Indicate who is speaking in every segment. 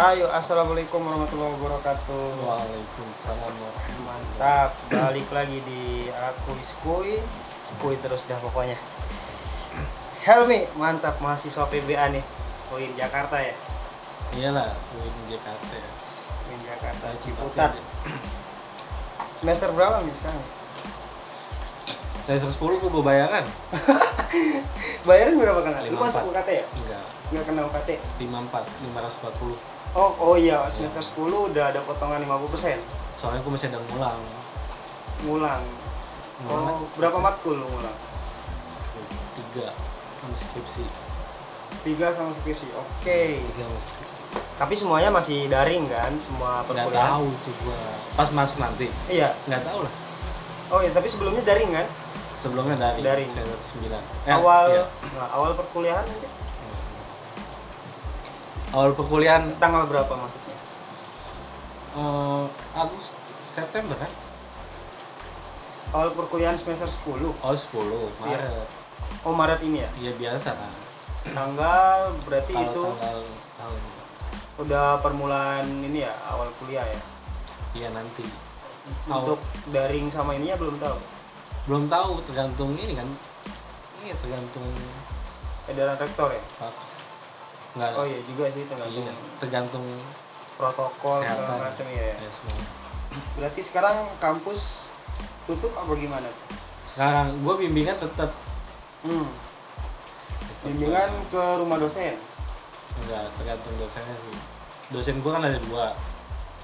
Speaker 1: Ayo, assalamualaikum warahmatullahi wabarakatuh.
Speaker 2: Waalaikumsalam warahmatullahi
Speaker 1: Mantap, balik lagi di aku Iskui, Skui terus dah pokoknya. Helmi, mantap mahasiswa PBA nih. UIN Jakarta ya,
Speaker 2: Iyalah, UIN JKT ya.
Speaker 1: UIN Jakarta.
Speaker 2: Saya
Speaker 1: Ciputat.
Speaker 2: Iya,
Speaker 1: Semester berapa nih sekarang?
Speaker 2: Saya 110 gue bayaran.
Speaker 1: Bayarin berapa kena? Lu
Speaker 2: Lima
Speaker 1: masuk
Speaker 2: empat.
Speaker 1: UKT ya?
Speaker 2: Enggak,
Speaker 1: Nggak kena UKT?
Speaker 2: 54, 540.
Speaker 1: Oh, oh iya, semester 10 udah ada potongan 50%.
Speaker 2: Soalnya gue masih ada ngulang.
Speaker 1: Ngulang. Oh, berapa matkul lu ngulang?
Speaker 2: 3 sama skripsi.
Speaker 1: 3 sama skripsi. Oke.
Speaker 2: 3 sama skripsi.
Speaker 1: Tapi semuanya masih daring kan, semua
Speaker 2: Enggak
Speaker 1: perkuliahan.
Speaker 2: tahu tuh gue. Pas masuk nanti,
Speaker 1: Iya.
Speaker 2: enggak tahu lah.
Speaker 1: Oh iya, tapi sebelumnya daring kan?
Speaker 2: Sebelumnya dari, Eh,
Speaker 1: Dari.
Speaker 2: saya 9.
Speaker 1: awal
Speaker 2: iya.
Speaker 1: nah, awal perkuliahan mungkin
Speaker 2: Awal perkuliahan
Speaker 1: tanggal berapa maksudnya?
Speaker 2: eh, Agustus September kan?
Speaker 1: Awal perkuliahan semester 10.
Speaker 2: Oh 10
Speaker 1: Iya.
Speaker 2: Maret.
Speaker 1: Oh, Maret ini ya.
Speaker 2: Iya biasa kan.
Speaker 1: Tanggal berarti
Speaker 2: Kalau
Speaker 1: itu
Speaker 2: tanggal tahun
Speaker 1: udah permulaan ini ya, awal kuliah ya.
Speaker 2: iya nanti. Awal.
Speaker 1: Untuk daring sama ininya belum tahu.
Speaker 2: Belum tahu tergantung ini kan. Ini tergantung
Speaker 1: Edaran rektor ya.
Speaker 2: paps. Enggak.
Speaker 1: Oh iya juga sih tergantung
Speaker 2: Ya. iya, tergantung
Speaker 1: protokol
Speaker 2: Kesehatan.
Speaker 1: segala macam ya.
Speaker 2: ya semua.
Speaker 1: Berarti sekarang kampus tutup apa gimana?
Speaker 2: Sekarang gua bimbingan tetap
Speaker 1: Hmm.
Speaker 2: tetap-
Speaker 1: Bimbingan ke rumah dosen.
Speaker 2: enggak tergantung dosennya sih. Dosen gua kan ada dua.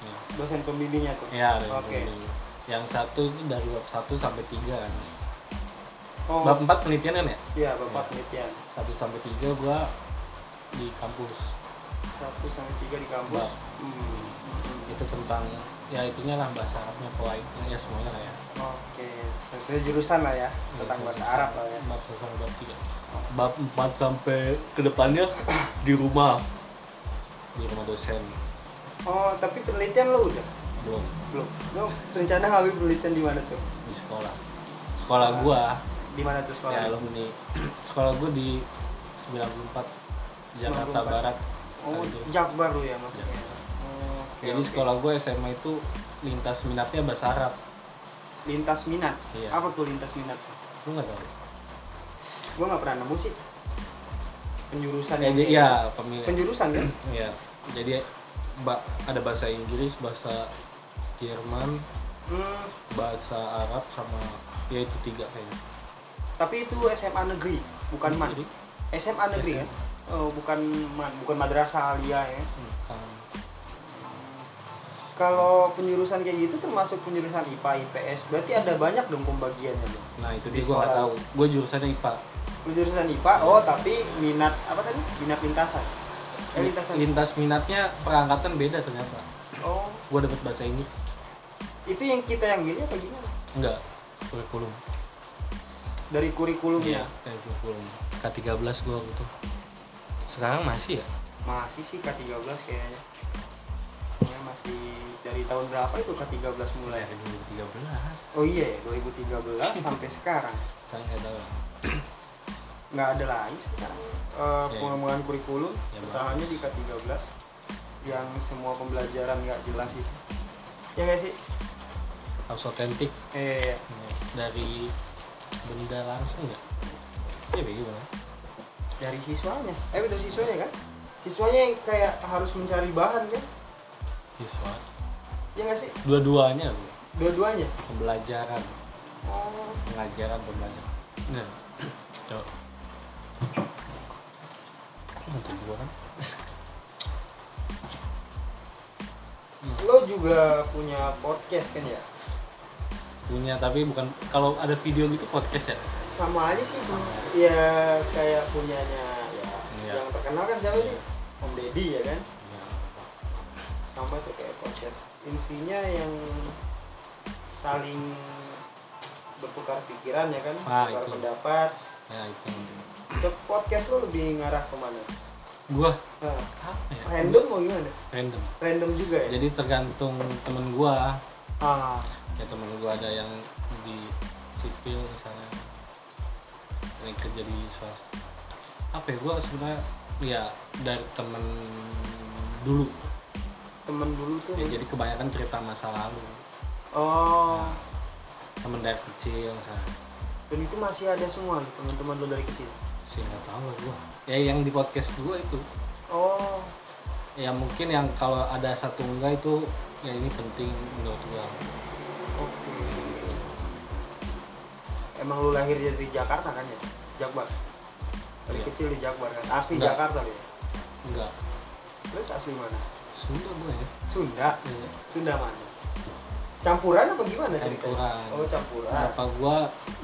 Speaker 2: Ya.
Speaker 1: Dosen pembimbingnya tuh.
Speaker 2: Ya, ada dua
Speaker 1: Oke.
Speaker 2: bimbing. Yang satu itu dari bab 1 sampai 3 kan.
Speaker 1: Oh,
Speaker 2: Bab 4 penelitian kan ya?
Speaker 1: iya Bapak penelitian.
Speaker 2: 1 sampai 3 gua di kampus.
Speaker 1: satu sampai tiga di kampus
Speaker 2: Wah.
Speaker 1: Hmm.
Speaker 2: itu tentang ya itunya lah bahasa Arabnya kuaitnya ya semuanya lah ya
Speaker 1: oke sesuai jurusan lah ya tentang bahasa Arab lah ya
Speaker 2: bab satu sampai bab tiga bab empat sampai kedepannya di rumah di rumah dosen
Speaker 1: oh tapi penelitian lo udah
Speaker 2: belum
Speaker 1: belum lo rencana ngambil penelitian di mana tuh
Speaker 2: di sekolah sekolah gua
Speaker 1: di mana tuh sekolah
Speaker 2: ya alumni sekolah gua di 94
Speaker 1: 94.
Speaker 2: Jakarta Barat
Speaker 1: oh
Speaker 2: Kaligus.
Speaker 1: Jakbar lo ya maksudnya Oh, oke,
Speaker 2: jadi
Speaker 1: oke.
Speaker 2: sekolah gua SMA itu lintas minatnya bahasa Arab
Speaker 1: lintas minat
Speaker 2: Iya.
Speaker 1: apa tuh lintas minat
Speaker 2: lu nggak tahu
Speaker 1: gue nggak pernah nemu sih penjurusan
Speaker 2: ya,
Speaker 1: yang-
Speaker 2: ya pemilih
Speaker 1: penjurusan kan
Speaker 2: Iya, jadi ba- ada bahasa Inggris, bahasa Jerman,
Speaker 1: hmm,
Speaker 2: bahasa Arab sama ya itu tiga kayaknya.
Speaker 1: tapi itu SMA negeri bukan man
Speaker 2: Jadi,
Speaker 1: SMA negeri
Speaker 2: SMA.
Speaker 1: kan oh, bukan man bukan madrasah aliyah ya
Speaker 2: bukan.
Speaker 1: Kalau penjurusan kayak gitu termasuk penjurusan IPA, IPS, berarti ada banyak dong pembagiannya dong.
Speaker 2: Nah itu
Speaker 1: Di
Speaker 2: dia gue nggak
Speaker 1: sekolah.
Speaker 2: tahu. Gue jurusannya IPA.
Speaker 1: Penjurusan IPA, oh tapi minat apa tadi? Minat lintasan. Eh, lintasan.
Speaker 2: Lintas minatnya perangkatan beda ternyata.
Speaker 1: oh,
Speaker 2: Gue dapet bahasa Inggris,
Speaker 1: itu yang kita yang milih apa gimana?
Speaker 2: enggak kurikulum. Iya,
Speaker 1: Dari ya? kurikulumnya.
Speaker 2: kayak kurikulum. K13 gue gitu. Sekarang masih ya?
Speaker 1: Masih sih K13 kayaknya. Soalnya masih dari tahun berapa itu K13 mulai?
Speaker 2: Dari 2013.
Speaker 1: Oh iya ya, 2013 sampai sekarang.
Speaker 2: Saya nggak tahu. lah.
Speaker 1: Nggak ada lagi sekarang eh,
Speaker 2: Ya,
Speaker 1: pengembangan kurikulum,
Speaker 2: Ya,
Speaker 1: utamanya di K13 yang semua pembelajaran nggak jelas itu. Ya nggak sih?
Speaker 2: Harus otentik
Speaker 1: Eh,
Speaker 2: Iya. dari benda langsung nggak? Iya bagaimana?
Speaker 1: dari siswanya. Eh, dari siswanya kan? Siswanya yang kayak harus mencari bahan kan?
Speaker 2: siswa
Speaker 1: Ya nggak sih?
Speaker 2: Iya, dua-duanya Bu.
Speaker 1: Dua-duanya.
Speaker 2: pembelajaran
Speaker 1: Oh,
Speaker 2: pengajaran pembelajaran nah coba nanti gua kan
Speaker 1: lo juga punya podcast kan ya?
Speaker 2: punya tapi bukan kalau ada video gitu podcast ya
Speaker 1: Sama aja sih semua. Ya kayak punyanya ya.
Speaker 2: Iya.
Speaker 1: Yang terkenal kan siapa sih? Om Deddy ya kan? Sama tuh kayak podcast. Intinya yang saling bertukar pikiran ya kan?
Speaker 2: Ah,
Speaker 1: bertukar
Speaker 2: itu.
Speaker 1: pendapat.
Speaker 2: nah itu
Speaker 1: Ke podcast lo lebih ngarah kemana?
Speaker 2: gua
Speaker 1: Nah,
Speaker 2: apa ya
Speaker 1: random mau gimana?
Speaker 2: random
Speaker 1: Random juga ya?
Speaker 2: jadi tergantung temen gua
Speaker 1: Ah,
Speaker 2: ya temen gua ada yang di sipil misalnya yang kerja di swasta apa ya gua sebenarnya ya dari temen dulu
Speaker 1: temen dulu tuh
Speaker 2: Ya, jadi Ah. kebanyakan cerita masa lalu
Speaker 1: oh
Speaker 2: temen dari kecil saya
Speaker 1: dan itu masih ada semua nih, teman-teman lo dari kecil
Speaker 2: sih nggak tahu lah gua ya yang di podcast gua itu
Speaker 1: oh
Speaker 2: ya mungkin yang kalau ada satu enggak itu ya ini penting menurut gua
Speaker 1: oke emang lu lahir dari Jakarta kan ya Jakbar dari
Speaker 2: Iya.
Speaker 1: kecil di Jakbar kan asli
Speaker 2: Enggak.
Speaker 1: Jakarta lo ya
Speaker 2: enggak
Speaker 1: terus asli mana
Speaker 2: Sunda gua ya
Speaker 1: Sunda
Speaker 2: Iya.
Speaker 1: Sunda mana campuran apa gimana ceritanya
Speaker 2: Campuran.
Speaker 1: oh campuran
Speaker 2: Bapak gua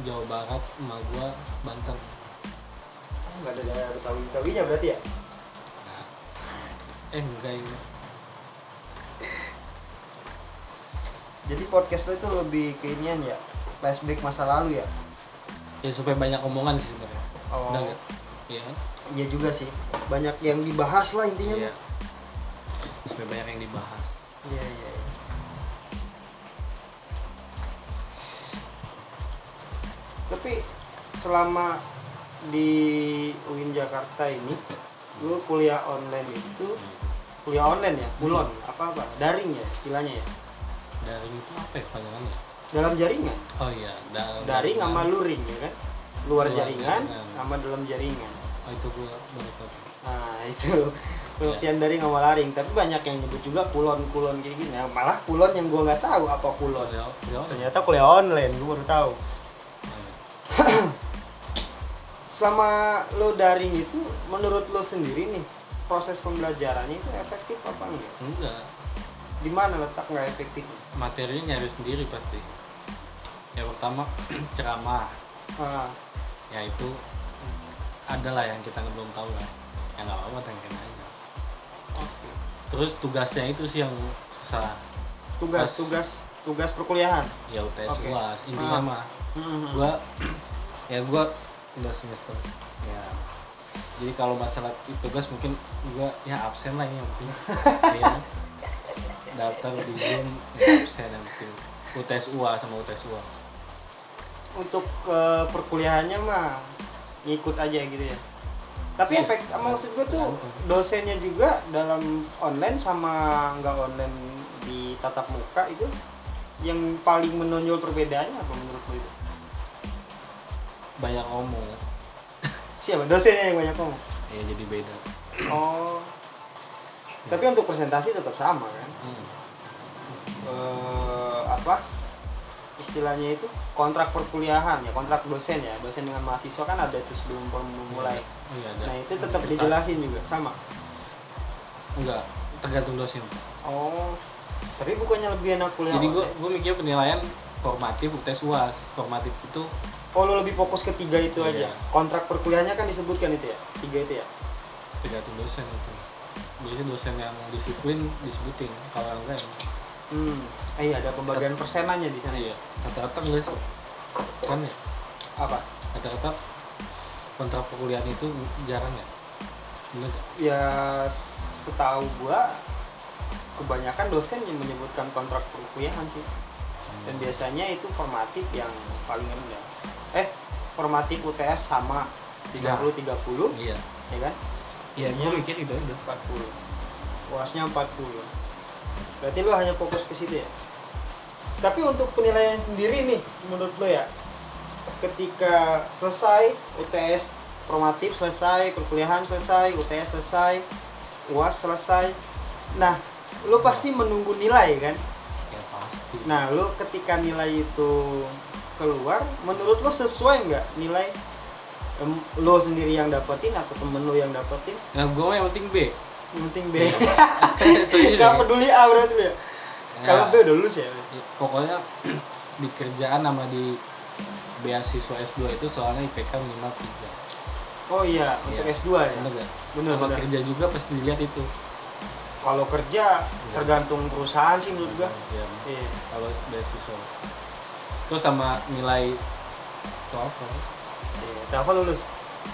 Speaker 2: Jawa Barat, emak gua Banten.
Speaker 1: Oh, nggak ada daerah Betawi Betawinya berarti ya
Speaker 2: Nah. Eh enggak ini.
Speaker 1: jadi podcast lo itu lebih keinian ya flashback masa lalu ya
Speaker 2: Ya supaya banyak omongan sih sebenarnya.
Speaker 1: oh
Speaker 2: Udah enggak? Iya.
Speaker 1: iya juga sih banyak yang dibahas lah intinya
Speaker 2: Iya. Supaya banyak yang dibahas.
Speaker 1: Iya iya. iya. Tapi selama di UIN Jakarta ini, lu kuliah online itu kuliah online ya, bulon
Speaker 2: Hmm.
Speaker 1: apa apa, daring ya istilahnya ya,
Speaker 2: Dari itu apa ya panjangannya?
Speaker 1: dalam jaringan,
Speaker 2: Oh iya, da-
Speaker 1: daring sama luring ya kan, luar
Speaker 2: Luar
Speaker 1: jaringan
Speaker 2: jaringan.
Speaker 1: sama dalam jaringan.
Speaker 2: Oh itu gua baru tahu.
Speaker 1: Nah itu pengertian daring sama laring, tapi banyak yang nyebut juga kulon-kulon kayak gini. Nah, malah kulon yang gua nggak tahu apa kulon.
Speaker 2: Kuliah, kuliah.
Speaker 1: Ternyata kuliah online, gue baru tahu.
Speaker 2: Oh, iya.
Speaker 1: Selama lo daring itu, menurut lo sendiri nih, proses pembelajarannya itu efektif apa enggak?
Speaker 2: Enggak.
Speaker 1: Di mana letak nggak efektifnya?
Speaker 2: Materinya nyari sendiri pasti. Ya pertama ceramah.
Speaker 1: Ah,
Speaker 2: Ya itu adalah yang kita belum tahu lah. Ya nggak apa-apa tanyain aja.
Speaker 1: oke.
Speaker 2: Terus tugasnya itu sih yang susah.
Speaker 1: Tugas,
Speaker 2: Pas-
Speaker 1: tugas, tugas perkuliahan.
Speaker 2: ya UTS
Speaker 1: Oke.
Speaker 2: UAS intinya
Speaker 1: Ah.
Speaker 2: mah
Speaker 1: Hmm.
Speaker 2: gua ya gua udah semester ya jadi kalau masalah tugas mungkin gua ya absen lah ini yang penting ya. daftar di zoom ya absen yang penting UTS UAS sama UTS UAS
Speaker 1: Untuk eh, perkuliahannya mah ngikut aja gitu ya. Tapi
Speaker 2: Iya,
Speaker 1: efek, maksud gue tuh
Speaker 2: tergantung.
Speaker 1: dosennya juga dalam online sama nggak online di tatap muka itu yang paling menonjol perbedaannya apa menurut lo itu?
Speaker 2: banyak omong
Speaker 1: Siapa dosennya yang banyak ngomong?
Speaker 2: ya jadi beda
Speaker 1: Oh. Tapi untuk presentasi tetap sama kan?
Speaker 2: Hmm.
Speaker 1: Eh, apa? Istilahnya itu kontrak perkuliahan ya, kontrak dosen ya. Dosen dengan mahasiswa kan ada itu sebelum pem- mulai.
Speaker 2: Oh, iya, ada.
Speaker 1: Nah, itu tetap
Speaker 2: Kita-
Speaker 1: dijelasin juga sama.
Speaker 2: enggak tergantung dosen
Speaker 1: Oh. Tapi bukannya lebih enak kuliah
Speaker 2: jadi gua
Speaker 1: online?
Speaker 2: gua mikir penilaian formatif UTS UAS formatif itu
Speaker 1: Oh, lu lebih fokus ke tiga itu aja.
Speaker 2: Iya.
Speaker 1: Kontrak perkuliahannya kan disebutkan itu ya. Tiga itu ya.
Speaker 2: tergantung dosen itu biasanya dosen yang disiplin disebutin kalau enggak ya
Speaker 1: Hmm. Eh, iya, ada pembagian persenannya di sana ya.
Speaker 2: iya rata-rata enggak sih kan ya
Speaker 1: Apa?
Speaker 2: rata-rata kontrak perkuliahan itu jarang ya bener nggak?
Speaker 1: ya setahu gua kebanyakan dosen yang menyebutkan kontrak perkuliahan sih dan biasanya itu formatif yang paling rendah eh formatif UTS sama 30 30
Speaker 2: iya
Speaker 1: ya kan
Speaker 2: iya gue mikir gitu aja
Speaker 1: 40 UASnya 40 berarti lo hanya fokus ke situ ya tapi untuk penilaian sendiri nih menurut lo ya ketika selesai UTS formatif selesai perkuliahan selesai UTS selesai UAS selesai nah lo pasti menunggu nilai kan
Speaker 2: ya pasti
Speaker 1: nah lo ketika nilai itu keluar menurut lo sesuai nggak nilai em, lo sendiri yang dapetin atau temen lo yang dapetin
Speaker 2: nah gue yang penting B
Speaker 1: yang penting B
Speaker 2: Serius,
Speaker 1: Gak
Speaker 2: ya?
Speaker 1: peduli A berarti lu ya.
Speaker 2: Ya,
Speaker 1: Kalau B udah lulus ya.
Speaker 2: ya, pokoknya di kerjaan sama di beasiswa S2 itu soalnya IPK minimal 3
Speaker 1: Oh iya, untuk
Speaker 2: Iya.
Speaker 1: S2 ya.
Speaker 2: bener gak?
Speaker 1: Bener,
Speaker 2: sama
Speaker 1: bener.
Speaker 2: kerja juga pasti dilihat itu
Speaker 1: Kalau kerja tergantung perusahaan sih menurut gua.
Speaker 2: Iya.
Speaker 1: Iya.
Speaker 2: kalau beasiswa terus sama nilai TOEFL
Speaker 1: Iya, Dafa lulus?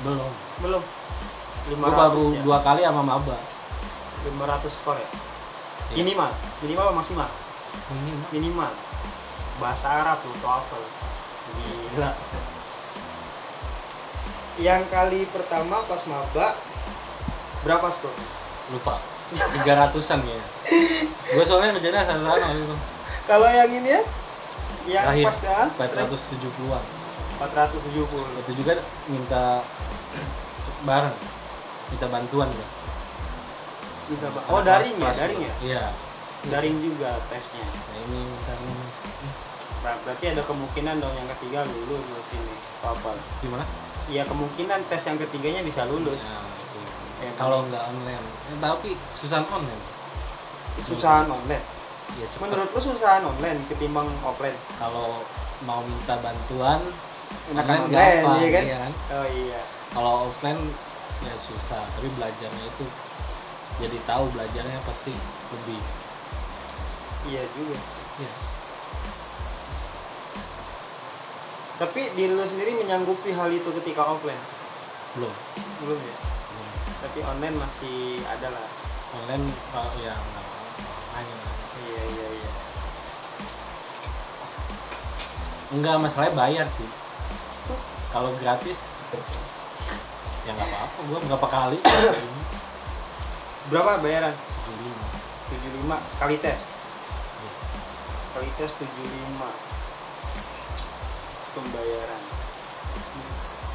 Speaker 2: belum
Speaker 1: Belum.
Speaker 2: gue baru
Speaker 1: 500 ya.
Speaker 2: dua kali sama maba
Speaker 1: 500 skor ya.
Speaker 2: Iya.
Speaker 1: Minimal, minimal apa maksimal?
Speaker 2: ini
Speaker 1: Minimal. Bahasa Arab tuh TOEFL. Gila. Yang kali pertama pas maba berapa skor?
Speaker 2: lupa tiga ratusan ya gue soalnya ngejarnya gitu. sasaran waktu itu
Speaker 1: Kalau yang ini ya, yang
Speaker 2: terakhir
Speaker 1: pas ya,
Speaker 2: empat ratus tujuh puluh an
Speaker 1: 470.
Speaker 2: itu juga minta bareng minta bantuan ya
Speaker 1: Juga, Pak. Oh, daring ya, daring ya.
Speaker 2: iya
Speaker 1: Daring juga tesnya.
Speaker 2: nah ini minta ini.
Speaker 1: Ber- Berarti ada kemungkinan dong yang ketiga lulus di sini. Apa?
Speaker 2: gimana
Speaker 1: Ya kemungkinan tes yang ketiganya bisa lulus.
Speaker 2: Nah, itu.
Speaker 1: Ya,
Speaker 2: kalau nggak online Eh, tapi susah online
Speaker 1: Susahan online.
Speaker 2: ya cepet
Speaker 1: Menurut lu susahan online ketimbang offline?
Speaker 2: kalau mau minta bantuan
Speaker 1: Enakan online,
Speaker 2: online gampang,
Speaker 1: iya kan?
Speaker 2: iya kan?
Speaker 1: Oh iya.
Speaker 2: kalau offline ya susah tapi belajarnya itu jadi tahu belajarnya pasti lebih
Speaker 1: Iya juga.
Speaker 2: ya
Speaker 1: Tapi diri lu sendiri menyanggupi hal itu ketika offline?
Speaker 2: belum
Speaker 1: Belum ya?
Speaker 2: Belum.
Speaker 1: Tapi online masih ada lah.
Speaker 2: online kalau ya hanya
Speaker 1: Iya, iya, iya.
Speaker 2: enggak masalahnya bayar sih kalau gratis ya nggak apa-apa gua berapa kali
Speaker 1: Berapa bayaran?
Speaker 2: beli
Speaker 1: 75 sekali tes.
Speaker 2: Iya.
Speaker 1: Sekali tes 75. Pembayaran.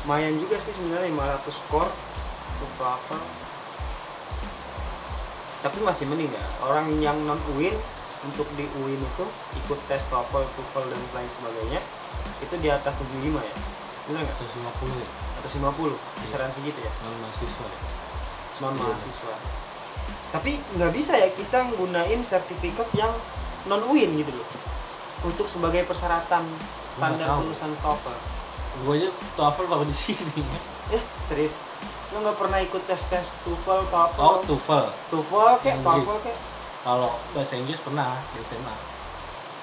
Speaker 1: Lumayan juga sih sebenarnya 500 skor untuk apa? Tapi masih mending ya. Orang yang non UIN untuk di UIN itu ikut tes TOEFL, TOEFL dan lain sebagainya itu di atas 75 ya. Benar nggak?
Speaker 2: seratus lima puluh ya
Speaker 1: 150 kisaran segitu ya
Speaker 2: non mahasiswa ya.
Speaker 1: non
Speaker 2: Iya.
Speaker 1: mahasiswa tapi nggak bisa ya kita nggunain sertifikat yang non UIN gitu loh untuk sebagai persyaratan standar
Speaker 2: tahu.
Speaker 1: lulusan TOEFL
Speaker 2: gua aja TOEFL baru di sini
Speaker 1: eh serius lo nggak pernah ikut tes tes TOEFL TOEFL
Speaker 2: oh TOEFL
Speaker 1: TOEFL kayak
Speaker 2: Yang
Speaker 1: TOEFL kayak
Speaker 2: kalau bahasa Inggris pernah di SMA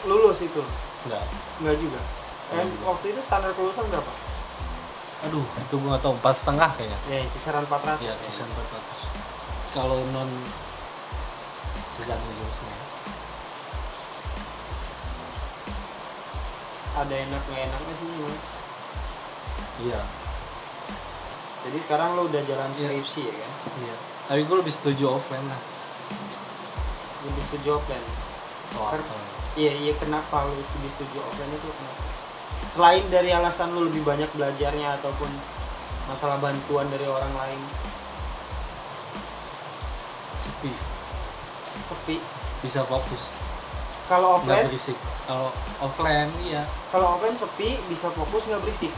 Speaker 1: lulus itu
Speaker 2: enggak
Speaker 1: nggak juga dan
Speaker 2: Nggak juga.
Speaker 1: waktu itu standar kelulusan berapa
Speaker 2: aduh itu gua nggak tahu empat setengah kayaknya
Speaker 1: ya kisaran 400
Speaker 2: ya
Speaker 1: kayaknya.
Speaker 2: kisaran 400 kalau non tergantung jurusnya ya.
Speaker 1: ada enak nggak enaknya sih Bang.
Speaker 2: iya
Speaker 1: jadi sekarang lo udah jalan
Speaker 2: Iya.
Speaker 1: skripsi ya kan
Speaker 2: iya tapi gue lebih setuju offline lah
Speaker 1: jadi ke job plan
Speaker 2: oh,
Speaker 1: Kar- Iya iya kenapa lu studi studi offline itu kenapa? Selain dari alasan lu lebih banyak belajarnya ataupun masalah bantuan dari orang lain
Speaker 2: sepi
Speaker 1: sepi.
Speaker 2: bisa fokus
Speaker 1: Kalau
Speaker 2: nggak
Speaker 1: offline
Speaker 2: berisik kalau offline iya
Speaker 1: kalau offline sepi bisa fokus nggak berisik.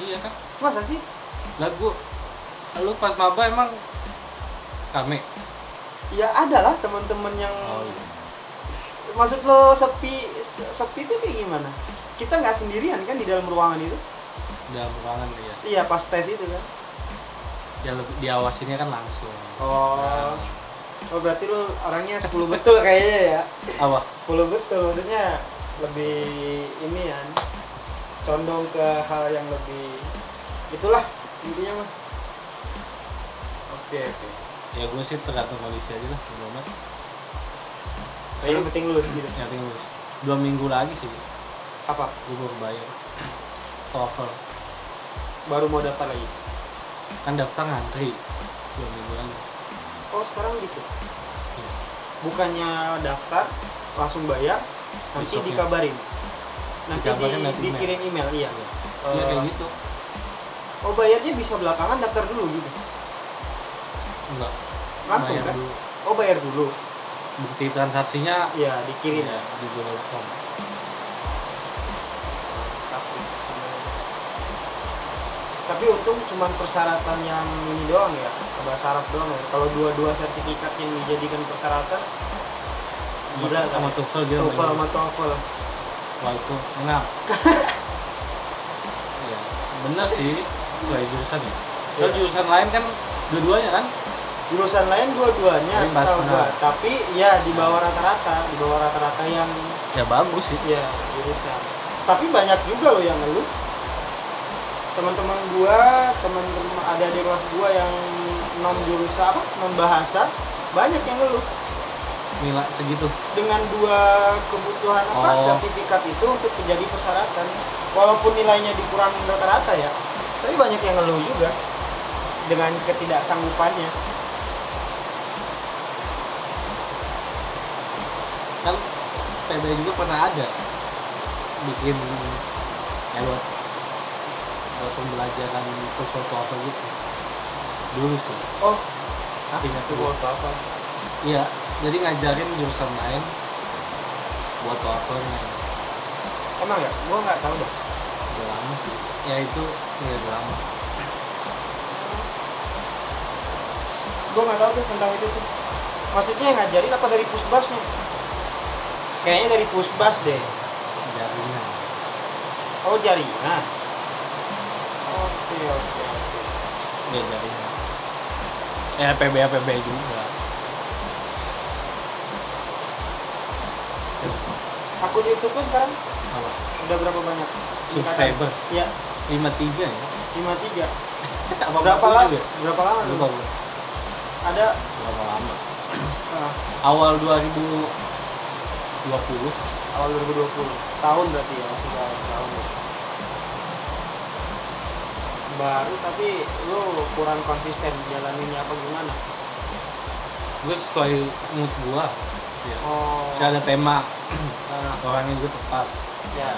Speaker 2: iya kan
Speaker 1: Masa sih?
Speaker 2: lah gue lu pas maba emang rame
Speaker 1: Ya ada lah teman-teman yang
Speaker 2: iya.
Speaker 1: maksud lo sepi se- sepi itu kayak gimana? Kita nggak sendirian kan di dalam ruangan itu?
Speaker 2: dalam ruangan iya
Speaker 1: Iya pas tes itu kan.
Speaker 2: ya lebih diawasinnya kan langsung
Speaker 1: Oh,
Speaker 2: Nah,
Speaker 1: oh berarti lu orangnya 10 betul kayaknya ya.
Speaker 2: apa
Speaker 1: 10 betul maksudnya lebih ini ya condong ke hal yang lebih itulah intinya mah oke oke
Speaker 2: ya gue sih tergantung kondisi aja lah belum amat
Speaker 1: tapi yang penting lulus gitu
Speaker 2: yang penting lulus. dua minggu lagi sih
Speaker 1: apa
Speaker 2: gue baru bayar TOEFL
Speaker 1: baru mau daftar lagi
Speaker 2: kan daftar ngantri dua minggu lagi
Speaker 1: oh sekarang gitu
Speaker 2: Iya.
Speaker 1: bukannya daftar langsung bayar nanti
Speaker 2: Besoknya.
Speaker 1: dikabarin nanti
Speaker 2: Dikabarin
Speaker 1: di-
Speaker 2: nanti email.
Speaker 1: dikirim email iya
Speaker 2: Iya
Speaker 1: Eh,
Speaker 2: kayak gitu
Speaker 1: oh bayarnya bisa belakangan daftar dulu gitu
Speaker 2: enggak
Speaker 1: langsung
Speaker 2: bayar
Speaker 1: kan
Speaker 2: dulu.
Speaker 1: oh bayar dulu
Speaker 2: bukti transaksinya
Speaker 1: iya dikirim
Speaker 2: ya, di Google Form
Speaker 1: Tapi- tapi untung cuman persyaratan yang ini doang ya bahasa Arab doang ya kalau dua-dua sertifikat yang dijadikan persyaratan gila kan
Speaker 2: sama TOEFL gitu
Speaker 1: TOEFL sama TOEFL
Speaker 2: wah itu enak Iya, bener sih sesuai jurusan ya soal
Speaker 1: Iya.
Speaker 2: jurusan lain kan dua-duanya kan
Speaker 1: jurusan lain dua-duanya
Speaker 2: Ini bahasa
Speaker 1: setahu gua.
Speaker 2: Arab.
Speaker 1: tapi ya di bawah rata-rata di bawah rata-rata yang
Speaker 2: ya bagus sih
Speaker 1: ya jurusan tapi banyak juga loh yang ngeluh teman-teman gua teman-teman ada di kelas gua yang non jurusan apa non bahasa banyak yang ngeluh
Speaker 2: nilai segitu
Speaker 1: dengan dua kebutuhan apa
Speaker 2: Oh.
Speaker 1: sertifikat itu untuk menjadi persyaratan walaupun nilainya dikurangin rata-rata ya tapi banyak yang ngeluh juga dengan ketidaksanggupannya
Speaker 2: kan PB juga pernah ada bikin ya buat buat pembelajaran untuk suatu apa gitu dulu sih
Speaker 1: oh
Speaker 2: ingat
Speaker 1: itu
Speaker 2: tuh
Speaker 1: buat apa
Speaker 2: iya jadi ngajarin jurusan lain buat wafelnya
Speaker 1: emang ya gua nggak tahu deh
Speaker 2: udah lama sih ya itu ya udah lama
Speaker 1: gua nggak tahu tuh tentang itu tuh maksudnya yang ngajarin apa dari pusbasnya kayaknya dari pusbas deh
Speaker 2: jaringan
Speaker 1: oh jaringan oke oke oke
Speaker 2: ya jaringan ya PB PB juga
Speaker 1: aku di YouTube tuh sekarang
Speaker 2: apa
Speaker 1: udah berapa banyak
Speaker 2: subscriber
Speaker 1: ya
Speaker 2: 53 ya
Speaker 1: 53
Speaker 2: apa
Speaker 1: berapa
Speaker 2: lama
Speaker 1: lama berapa lama
Speaker 2: lupa
Speaker 1: tuh?
Speaker 2: gue
Speaker 1: ada
Speaker 2: berapa lama
Speaker 1: ah,
Speaker 2: awal 2020
Speaker 1: awal 2020 tahun berarti ya masih tahun tahun ya. baru tapi lu kurang konsisten jalaninnya apa gimana
Speaker 2: gue sesuai mood gue ya.
Speaker 1: oh
Speaker 2: Saya ada tema
Speaker 1: nah,
Speaker 2: orangnya gue tepat
Speaker 1: ya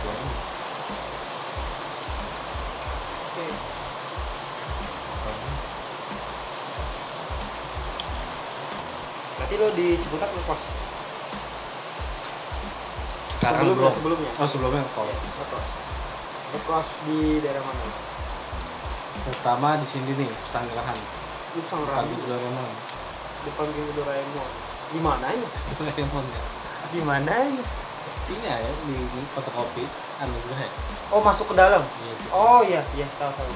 Speaker 2: Gua ini,
Speaker 1: oke
Speaker 2: orang ini.
Speaker 1: berarti lu di Ciputat lu kos
Speaker 2: sekarang
Speaker 1: sebelumnya
Speaker 2: belum.
Speaker 1: sebelumnya
Speaker 2: oh sebelumnya kalau
Speaker 1: Ya, lu kos Lu kos di daerah mana
Speaker 2: pertama di sini nih Sanggrahan
Speaker 1: lu Sangrang
Speaker 2: pagi Doraemon
Speaker 1: depan pintu Doraemon di mananya
Speaker 2: Doraemon ya
Speaker 1: di mananya
Speaker 2: sini ya di, di fotokopi anugerah ya
Speaker 1: oh masuk ke dalam
Speaker 2: Gitu.
Speaker 1: oh iya iya tahu tahu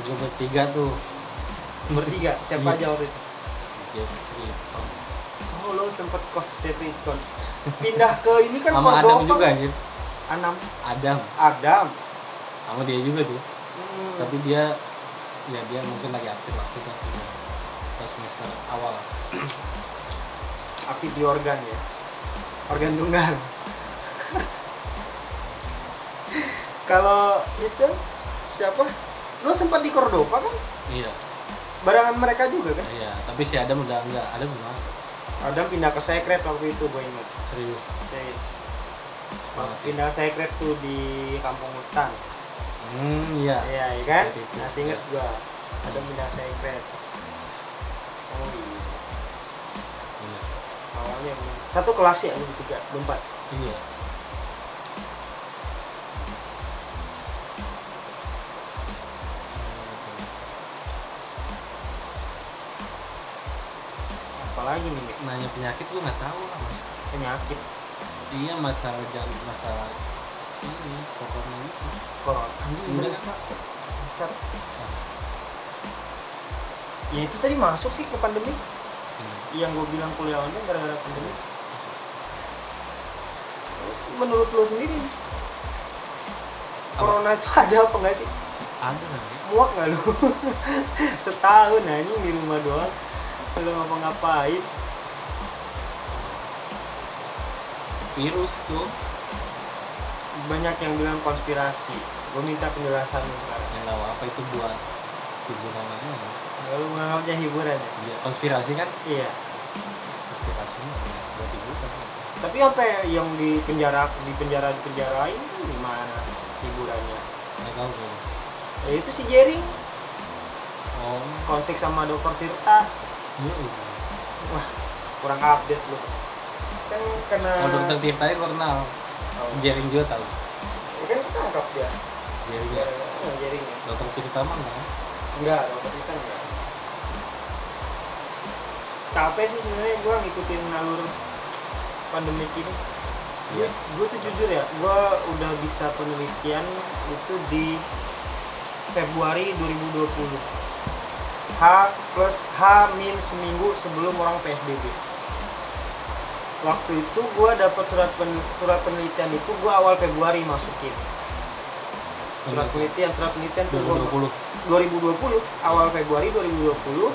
Speaker 2: tiga bertiga tuh
Speaker 1: bertiga siapa
Speaker 2: Iya.
Speaker 1: aja waktu itu
Speaker 2: Jack Ripon.
Speaker 1: oh lo sempet kos di Triton pindah ke ini kan
Speaker 2: sama Adam
Speaker 1: Cordova.
Speaker 2: juga anjir
Speaker 1: Anam
Speaker 2: Adam
Speaker 1: Adam
Speaker 2: sama dia juga tuh
Speaker 1: Hmm.
Speaker 2: tapi dia ya dia mungkin lagi aktif aktif lah gitu. pas semester awal
Speaker 1: aktif di organ ya organ tunggal kalau itu siapa lo sempat di Cordova kan
Speaker 2: iya
Speaker 1: barengan mereka juga kan
Speaker 2: iya tapi si Adam udah enggak Adam udah
Speaker 1: Adam pindah ke Secret waktu itu gue ingat
Speaker 2: serius
Speaker 1: Saya-
Speaker 2: Banget.
Speaker 1: pindah Secret tuh di kampung hutan
Speaker 2: hmm iya
Speaker 1: Iya, iya kan?
Speaker 2: Seperti itu.
Speaker 1: Masih inget gua. Ada minyak secret. Oh iya.
Speaker 2: iya
Speaker 1: Awalnya bener. satu kelas ya, lu tiga, lu empat.
Speaker 2: iya
Speaker 1: Apalagi nih, Nek?
Speaker 2: nanya penyakit gue nggak tahu lah mas
Speaker 1: penyakit
Speaker 2: iya masalah jantung masalah ini pokoknya itu
Speaker 1: corona.
Speaker 2: Iya kan, Pak?
Speaker 1: Besar. Ya itu tadi masuk sih ke pandemi.
Speaker 2: Hmm.
Speaker 1: Yang gue bilang kuliah online gara-gara pandemi. Menurut lo sendiri,
Speaker 2: Apa?
Speaker 1: corona itu ada apa nggak sih?
Speaker 2: ada nggak ya?
Speaker 1: muak nggak lu setahun anjing di rumah doang lu ngapa-ngapain
Speaker 2: virus tuh
Speaker 1: banyak yang bilang konspirasi gue minta penjelasan lu sekarang
Speaker 2: yang tahu apa itu buat hiburan aja ya.
Speaker 1: lalu menganggapnya hiburan ya
Speaker 2: Iya, konspirasi kan
Speaker 1: iya
Speaker 2: konspirasi mah ya, buat hiburan
Speaker 1: tapi apa yang di penjara di penjara di penjarain gimana hiburannya
Speaker 2: nggak tahu gue
Speaker 1: ya itu si Jerry
Speaker 2: oh
Speaker 1: konflik sama dokter Tirta
Speaker 2: iya
Speaker 1: wah kurang update lu kan kena
Speaker 2: kalau dokter Tirta itu kenal
Speaker 1: Oh,
Speaker 2: Jering juga tahu
Speaker 1: ya kan ketangkap dia
Speaker 2: Jering juga
Speaker 1: gara-gara Jerrynya
Speaker 2: dokter Tirta mah kan? nggak
Speaker 1: Enggak, dokter kita enggak. Capek sih sebenarnya gue ngikutin alur pandemi ini.
Speaker 2: Iya.
Speaker 1: Gue tuh jujur ya, gue udah bisa penelitian itu di Februari 2020. H plus H min seminggu sebelum orang PSBB. Waktu itu gue dapat surat pen- surat penelitian itu gue awal Februari masukin. Surat
Speaker 2: Iya.
Speaker 1: penelitian, surat penelitian tuh gua-
Speaker 2: 2020
Speaker 1: 2020 awal Februari 2020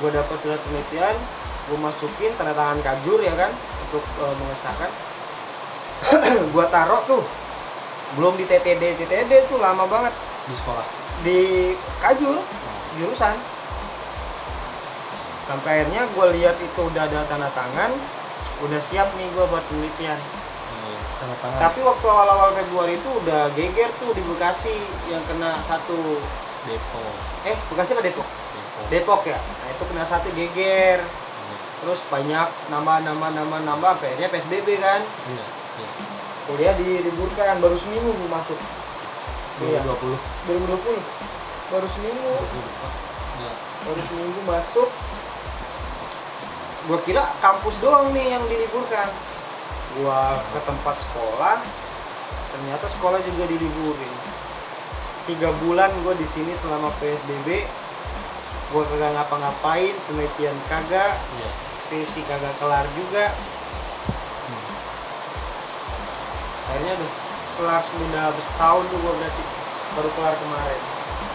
Speaker 1: gue dapat surat penelitian gue masukin tanda tangan kajur ya kan untuk eh, mengesahkan gue taruh tuh belum di TTD TTD tuh lama banget
Speaker 2: di sekolah
Speaker 1: di kajur
Speaker 2: Oh.
Speaker 1: jurusan sampai akhirnya gue lihat itu udah ada tanda tangan udah siap nih gua buat penelitian
Speaker 2: Iya, sama tangan
Speaker 1: tapi waktu awal-awal Februari itu udah geger tuh di Bekasi yang kena satu
Speaker 2: depo
Speaker 1: eh Bekasi apa Depok
Speaker 2: depo
Speaker 1: Depok ya nah itu kena satu geger
Speaker 2: Iya.
Speaker 1: terus banyak nambah nambah nambah nambah akhirnya PSBB kan
Speaker 2: Iya, iya.
Speaker 1: kuliah diliburkan baru seminggu gua masuk Iya.
Speaker 2: 2020.
Speaker 1: 2020 baru seminggu
Speaker 2: 2024. Iya.
Speaker 1: baru seminggu masuk gua kira kampus doang nih yang diliburkan gua ke tempat sekolah ternyata sekolah juga diliburin tiga bulan gua di sini selama psbb gua kagak ngapa-ngapain penelitian kagak
Speaker 2: Iya.
Speaker 1: skripsi kagak kelar juga
Speaker 2: Hmm.
Speaker 1: akhirnya udah kelar udah habis setahun tuh gua berarti baru kelar kemarin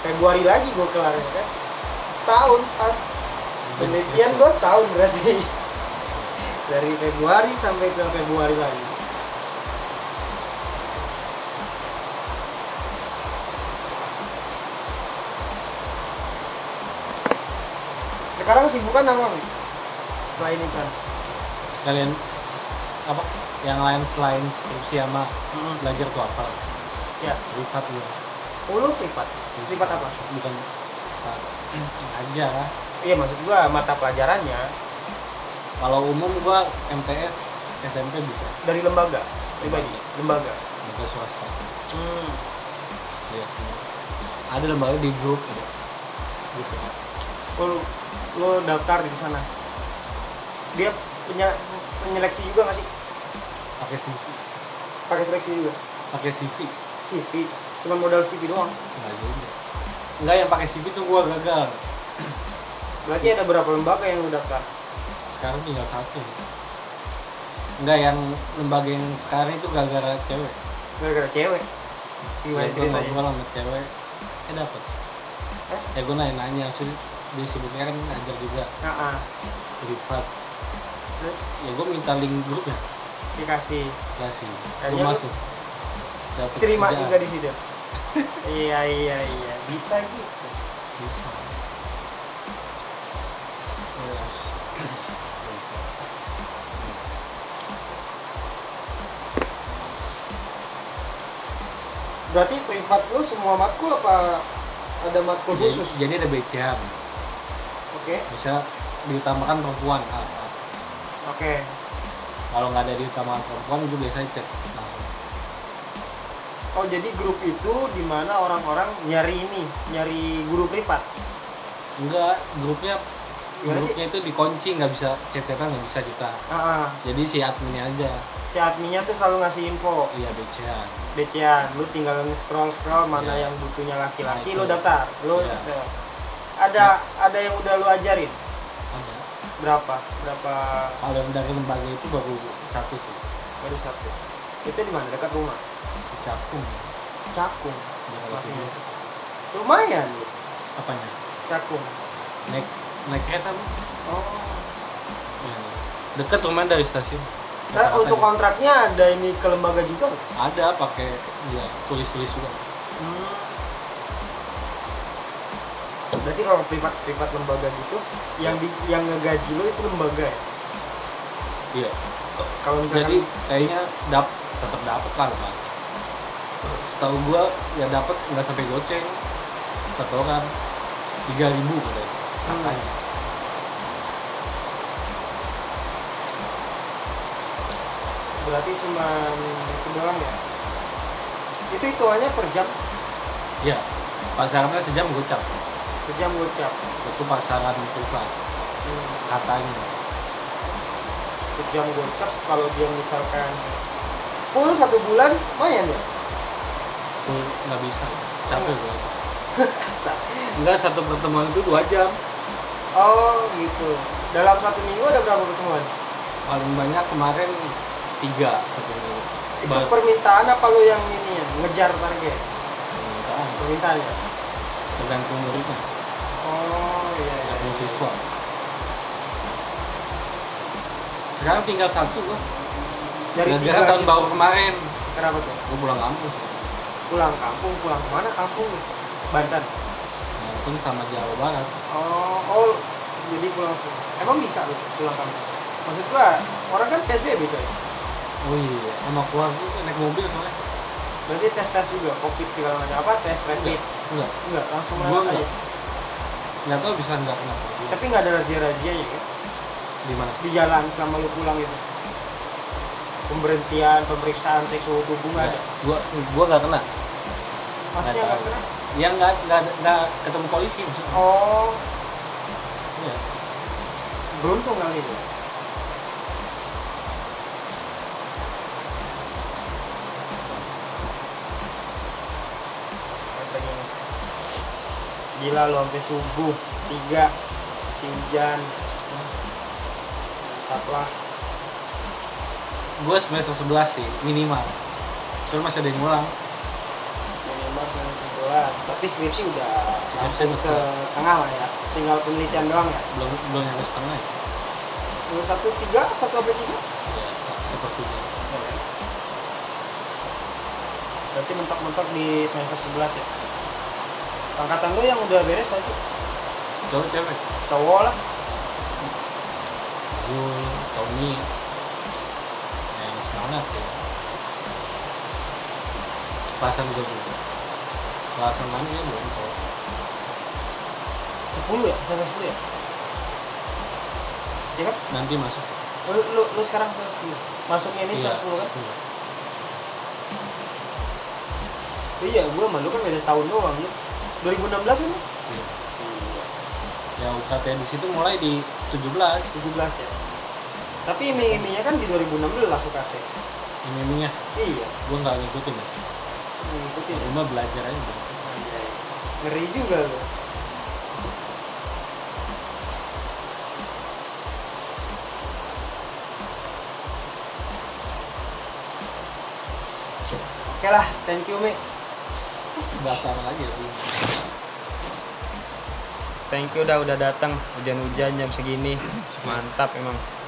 Speaker 1: Februari lagi gua kelar ya kan setahun pas penelitian gua setahun berarti dari Februari sampai ke Februari lagi sekarang sibukan apa Wi? selain itu
Speaker 2: Sekalian s- apa yang lain selain skripsi sama belajar tuh apa?
Speaker 1: ya
Speaker 2: Privat lu.
Speaker 1: oh, lu privat privat apa
Speaker 2: Bukan nah, aja.
Speaker 1: iya maksud gua mata pelajarannya
Speaker 2: Kalau umum gua MTS SMP bisa,
Speaker 1: dari lembaga pribadi lembaga
Speaker 2: bukan swasta.
Speaker 1: hmm.
Speaker 2: Iya. Ada lembaga di grup ada. Gitu.
Speaker 1: lo, lo daftar di sana dia punya penyeleksi juga nggak sih
Speaker 2: Pakai CV,
Speaker 1: pakai seleksi juga
Speaker 2: pakai CV.
Speaker 1: CV cuma modal CV doang
Speaker 2: Enggak juga. Enggak yang pakai CV tuh gua gagal.
Speaker 1: berarti ada berapa lembaga yang lo daftar
Speaker 2: sekarang tinggal satu enggak yang lembaga yang sekarang itu gara-gara cewek
Speaker 1: gara-gara cewek gimana Iya,
Speaker 2: ya, gue
Speaker 1: ceritanya
Speaker 2: ngobrol sama cewek eh dapet
Speaker 1: Hah?
Speaker 2: ya gue nanya-nanya sih dia sibuknya kan ngajar juga
Speaker 1: nah, ah.
Speaker 2: privat
Speaker 1: terus
Speaker 2: ya gue minta link grupnya
Speaker 1: dikasih
Speaker 2: kasih gue
Speaker 1: Kayaknya lu
Speaker 2: masuk dapet
Speaker 1: terima
Speaker 2: kerjaan.
Speaker 1: juga di situ iya iya iya bisa gitu
Speaker 2: bisa Terus.
Speaker 1: berarti privat lo semua matkul apa ada matkul
Speaker 2: jadi,
Speaker 1: khusus
Speaker 2: jadi ada BCM
Speaker 1: oke
Speaker 2: bisa diutamakan perempuan ah, ah.
Speaker 1: oke
Speaker 2: kalau nggak ada diutamakan perempuan gue biasanya Nah, cek langsung
Speaker 1: Oh jadi grup itu dimana orang-orang nyari ini, nyari guru privat.
Speaker 2: enggak grupnya
Speaker 1: Gimana sih?
Speaker 2: grupnya itu dikunci nggak bisa cecetan nggak bisa kita
Speaker 1: Ah, ah.
Speaker 2: jadi si adminnya aja
Speaker 1: si adminnya tuh selalu ngasih info,
Speaker 2: iya BCA
Speaker 1: becian, lu tinggal scroll scroll mana
Speaker 2: Iya.
Speaker 1: yang butuhnya laki-laki,
Speaker 2: Nah, itu.
Speaker 1: lu daftar, lu
Speaker 2: Iya.
Speaker 1: daftar. ada ada yang udah lu ajarin
Speaker 2: ada
Speaker 1: berapa berapa
Speaker 2: kalau yang dari lembaga itu baru satu sih
Speaker 1: baru satu itu di mana dekat rumah
Speaker 2: cakung
Speaker 1: cakung
Speaker 2: Jakarta
Speaker 1: Masih.
Speaker 2: Timur
Speaker 1: lumayan lu
Speaker 2: apanya
Speaker 1: cakung
Speaker 2: ya? naik naik kereta Bu?
Speaker 1: oh
Speaker 2: Iya. deket rumah dari stasiun
Speaker 1: nah,
Speaker 2: Jakarta
Speaker 1: untuk
Speaker 2: Timur.
Speaker 1: kontraknya ada ini ke lembaga juga nggak?
Speaker 2: ada pakai ya tulis tulis juga
Speaker 1: Berarti kalau privat privat lembaga gitu, yang di, yang ngegaji lo itu lembaga ya.
Speaker 2: iya
Speaker 1: Kalau
Speaker 2: jadi
Speaker 1: misalkan
Speaker 2: kayaknya dap tetap dapet kan Pak. setahu gua ya dapet nggak sampai goceng satu orang tiga ribu katanya
Speaker 1: Hmm.
Speaker 2: Katanya.
Speaker 1: berarti cuma itu doang ya. Itu hitungannya per jam,
Speaker 2: Iya, pasarannya sejam gocap.
Speaker 1: per jam gocap.
Speaker 2: Itu pasaran privat
Speaker 1: Hmm.
Speaker 2: katanya.
Speaker 1: Per jam gocap kalau dia misalkan full satu bulan lumayan ya.
Speaker 2: Itu nggak bisa, capek gue.
Speaker 1: Sa-
Speaker 2: Enggak satu pertemuan itu dua jam,
Speaker 1: Oh gitu. Dalam satu minggu ada berapa pertemuan?
Speaker 2: paling banyak kemarin tiga satu minggu.
Speaker 1: Itu
Speaker 2: Ba-
Speaker 1: permintaan apa lo yang ini ya? Ngejar target?
Speaker 2: permintaan,
Speaker 1: Permintaan ya?
Speaker 2: tergantung muridnya,
Speaker 1: Oh iya. iya,
Speaker 2: tergantung
Speaker 1: iya.
Speaker 2: siswa. Sekarang tinggal satu gua.
Speaker 1: Dari
Speaker 2: Gara-gara
Speaker 1: tiga
Speaker 2: tahun
Speaker 1: gitu.
Speaker 2: baru kemarin,
Speaker 1: Kenapa tuh?
Speaker 2: gua pulang kampung.
Speaker 1: Pulang kampung, pulang kemana kampung? Banten.
Speaker 2: Mungkin sama Jawa Barat.
Speaker 1: Oh, oh jadi pulang kampung. Emang bisa lu pulang kampung? maksud gua orang kan PSBB coy
Speaker 2: oh iya sama keluar tuh naik mobil soalnya
Speaker 1: berarti tes tes juga covid segala macam apa tes rapid
Speaker 2: enggak
Speaker 1: enggak langsung
Speaker 2: Gua
Speaker 1: lewat aja
Speaker 2: enggak. nggak tahu bisa nggak kenapa
Speaker 1: tapi nggak ada razia razianya kan
Speaker 2: di mana
Speaker 1: di jalan selama lu pulang gitu pemberhentian pemeriksaan seksual tubuh nggak ada
Speaker 2: gua gua nggak kena
Speaker 1: maksudnya
Speaker 2: Nggak
Speaker 1: nggak
Speaker 2: tahu.
Speaker 1: pernah
Speaker 2: ya nggak nggak ada- nggak ketemu polisi maksudnya
Speaker 1: oh
Speaker 2: Iya.
Speaker 1: beruntung kali itu Katanya, gila lo sampai subuh tiga si hujan Tetaplah
Speaker 2: gua semester 11 sih minimal cuma masih ada yang ngulang
Speaker 1: minimal yang 11 tapi skripsi udah
Speaker 2: Skripsi
Speaker 1: langsung
Speaker 2: udah.
Speaker 1: setengah lah ya tinggal penelitian doang ya
Speaker 2: belum belum nyampe setengah ya
Speaker 1: Lu satu tiga satu apa tiga
Speaker 2: Ya, sepertinya
Speaker 1: Berarti mentok-mentok di semester 11 ya? Angkatan lu yang udah beres nggak sih?
Speaker 2: cowok cewek
Speaker 1: Cowok lah.
Speaker 2: Zul Tommy yang semangat sih pasan gue juga pasan mana ya belum tahu
Speaker 1: 10 ya? Semester 10 ya? Ya kan?
Speaker 2: nanti masuk
Speaker 1: Lu, lu, lu sekarang kelas 10. Masuknya ini
Speaker 2: Iya,
Speaker 1: sekarang 10 kan?
Speaker 2: iya.
Speaker 1: Iya, gua sama lu kan beda setahun doang lu. 2016 kan? lu?
Speaker 2: Iya. ya UKT di situ mulai di 17
Speaker 1: 17 ya. Tapi iming-imingnya kan di 2016 UKT.
Speaker 2: ini ininya
Speaker 1: Iya,
Speaker 2: gue nggak ngikutin ya di
Speaker 1: ngikutin ya.
Speaker 2: rumah belajar aja bro.
Speaker 1: Anjay. Ngeri juga lu. Oke lah, thank you Mi.
Speaker 2: bahasa apa lagi ya Bu?
Speaker 1: Thank you udah udah datang hujan-hujan jam segini. Mantap emang.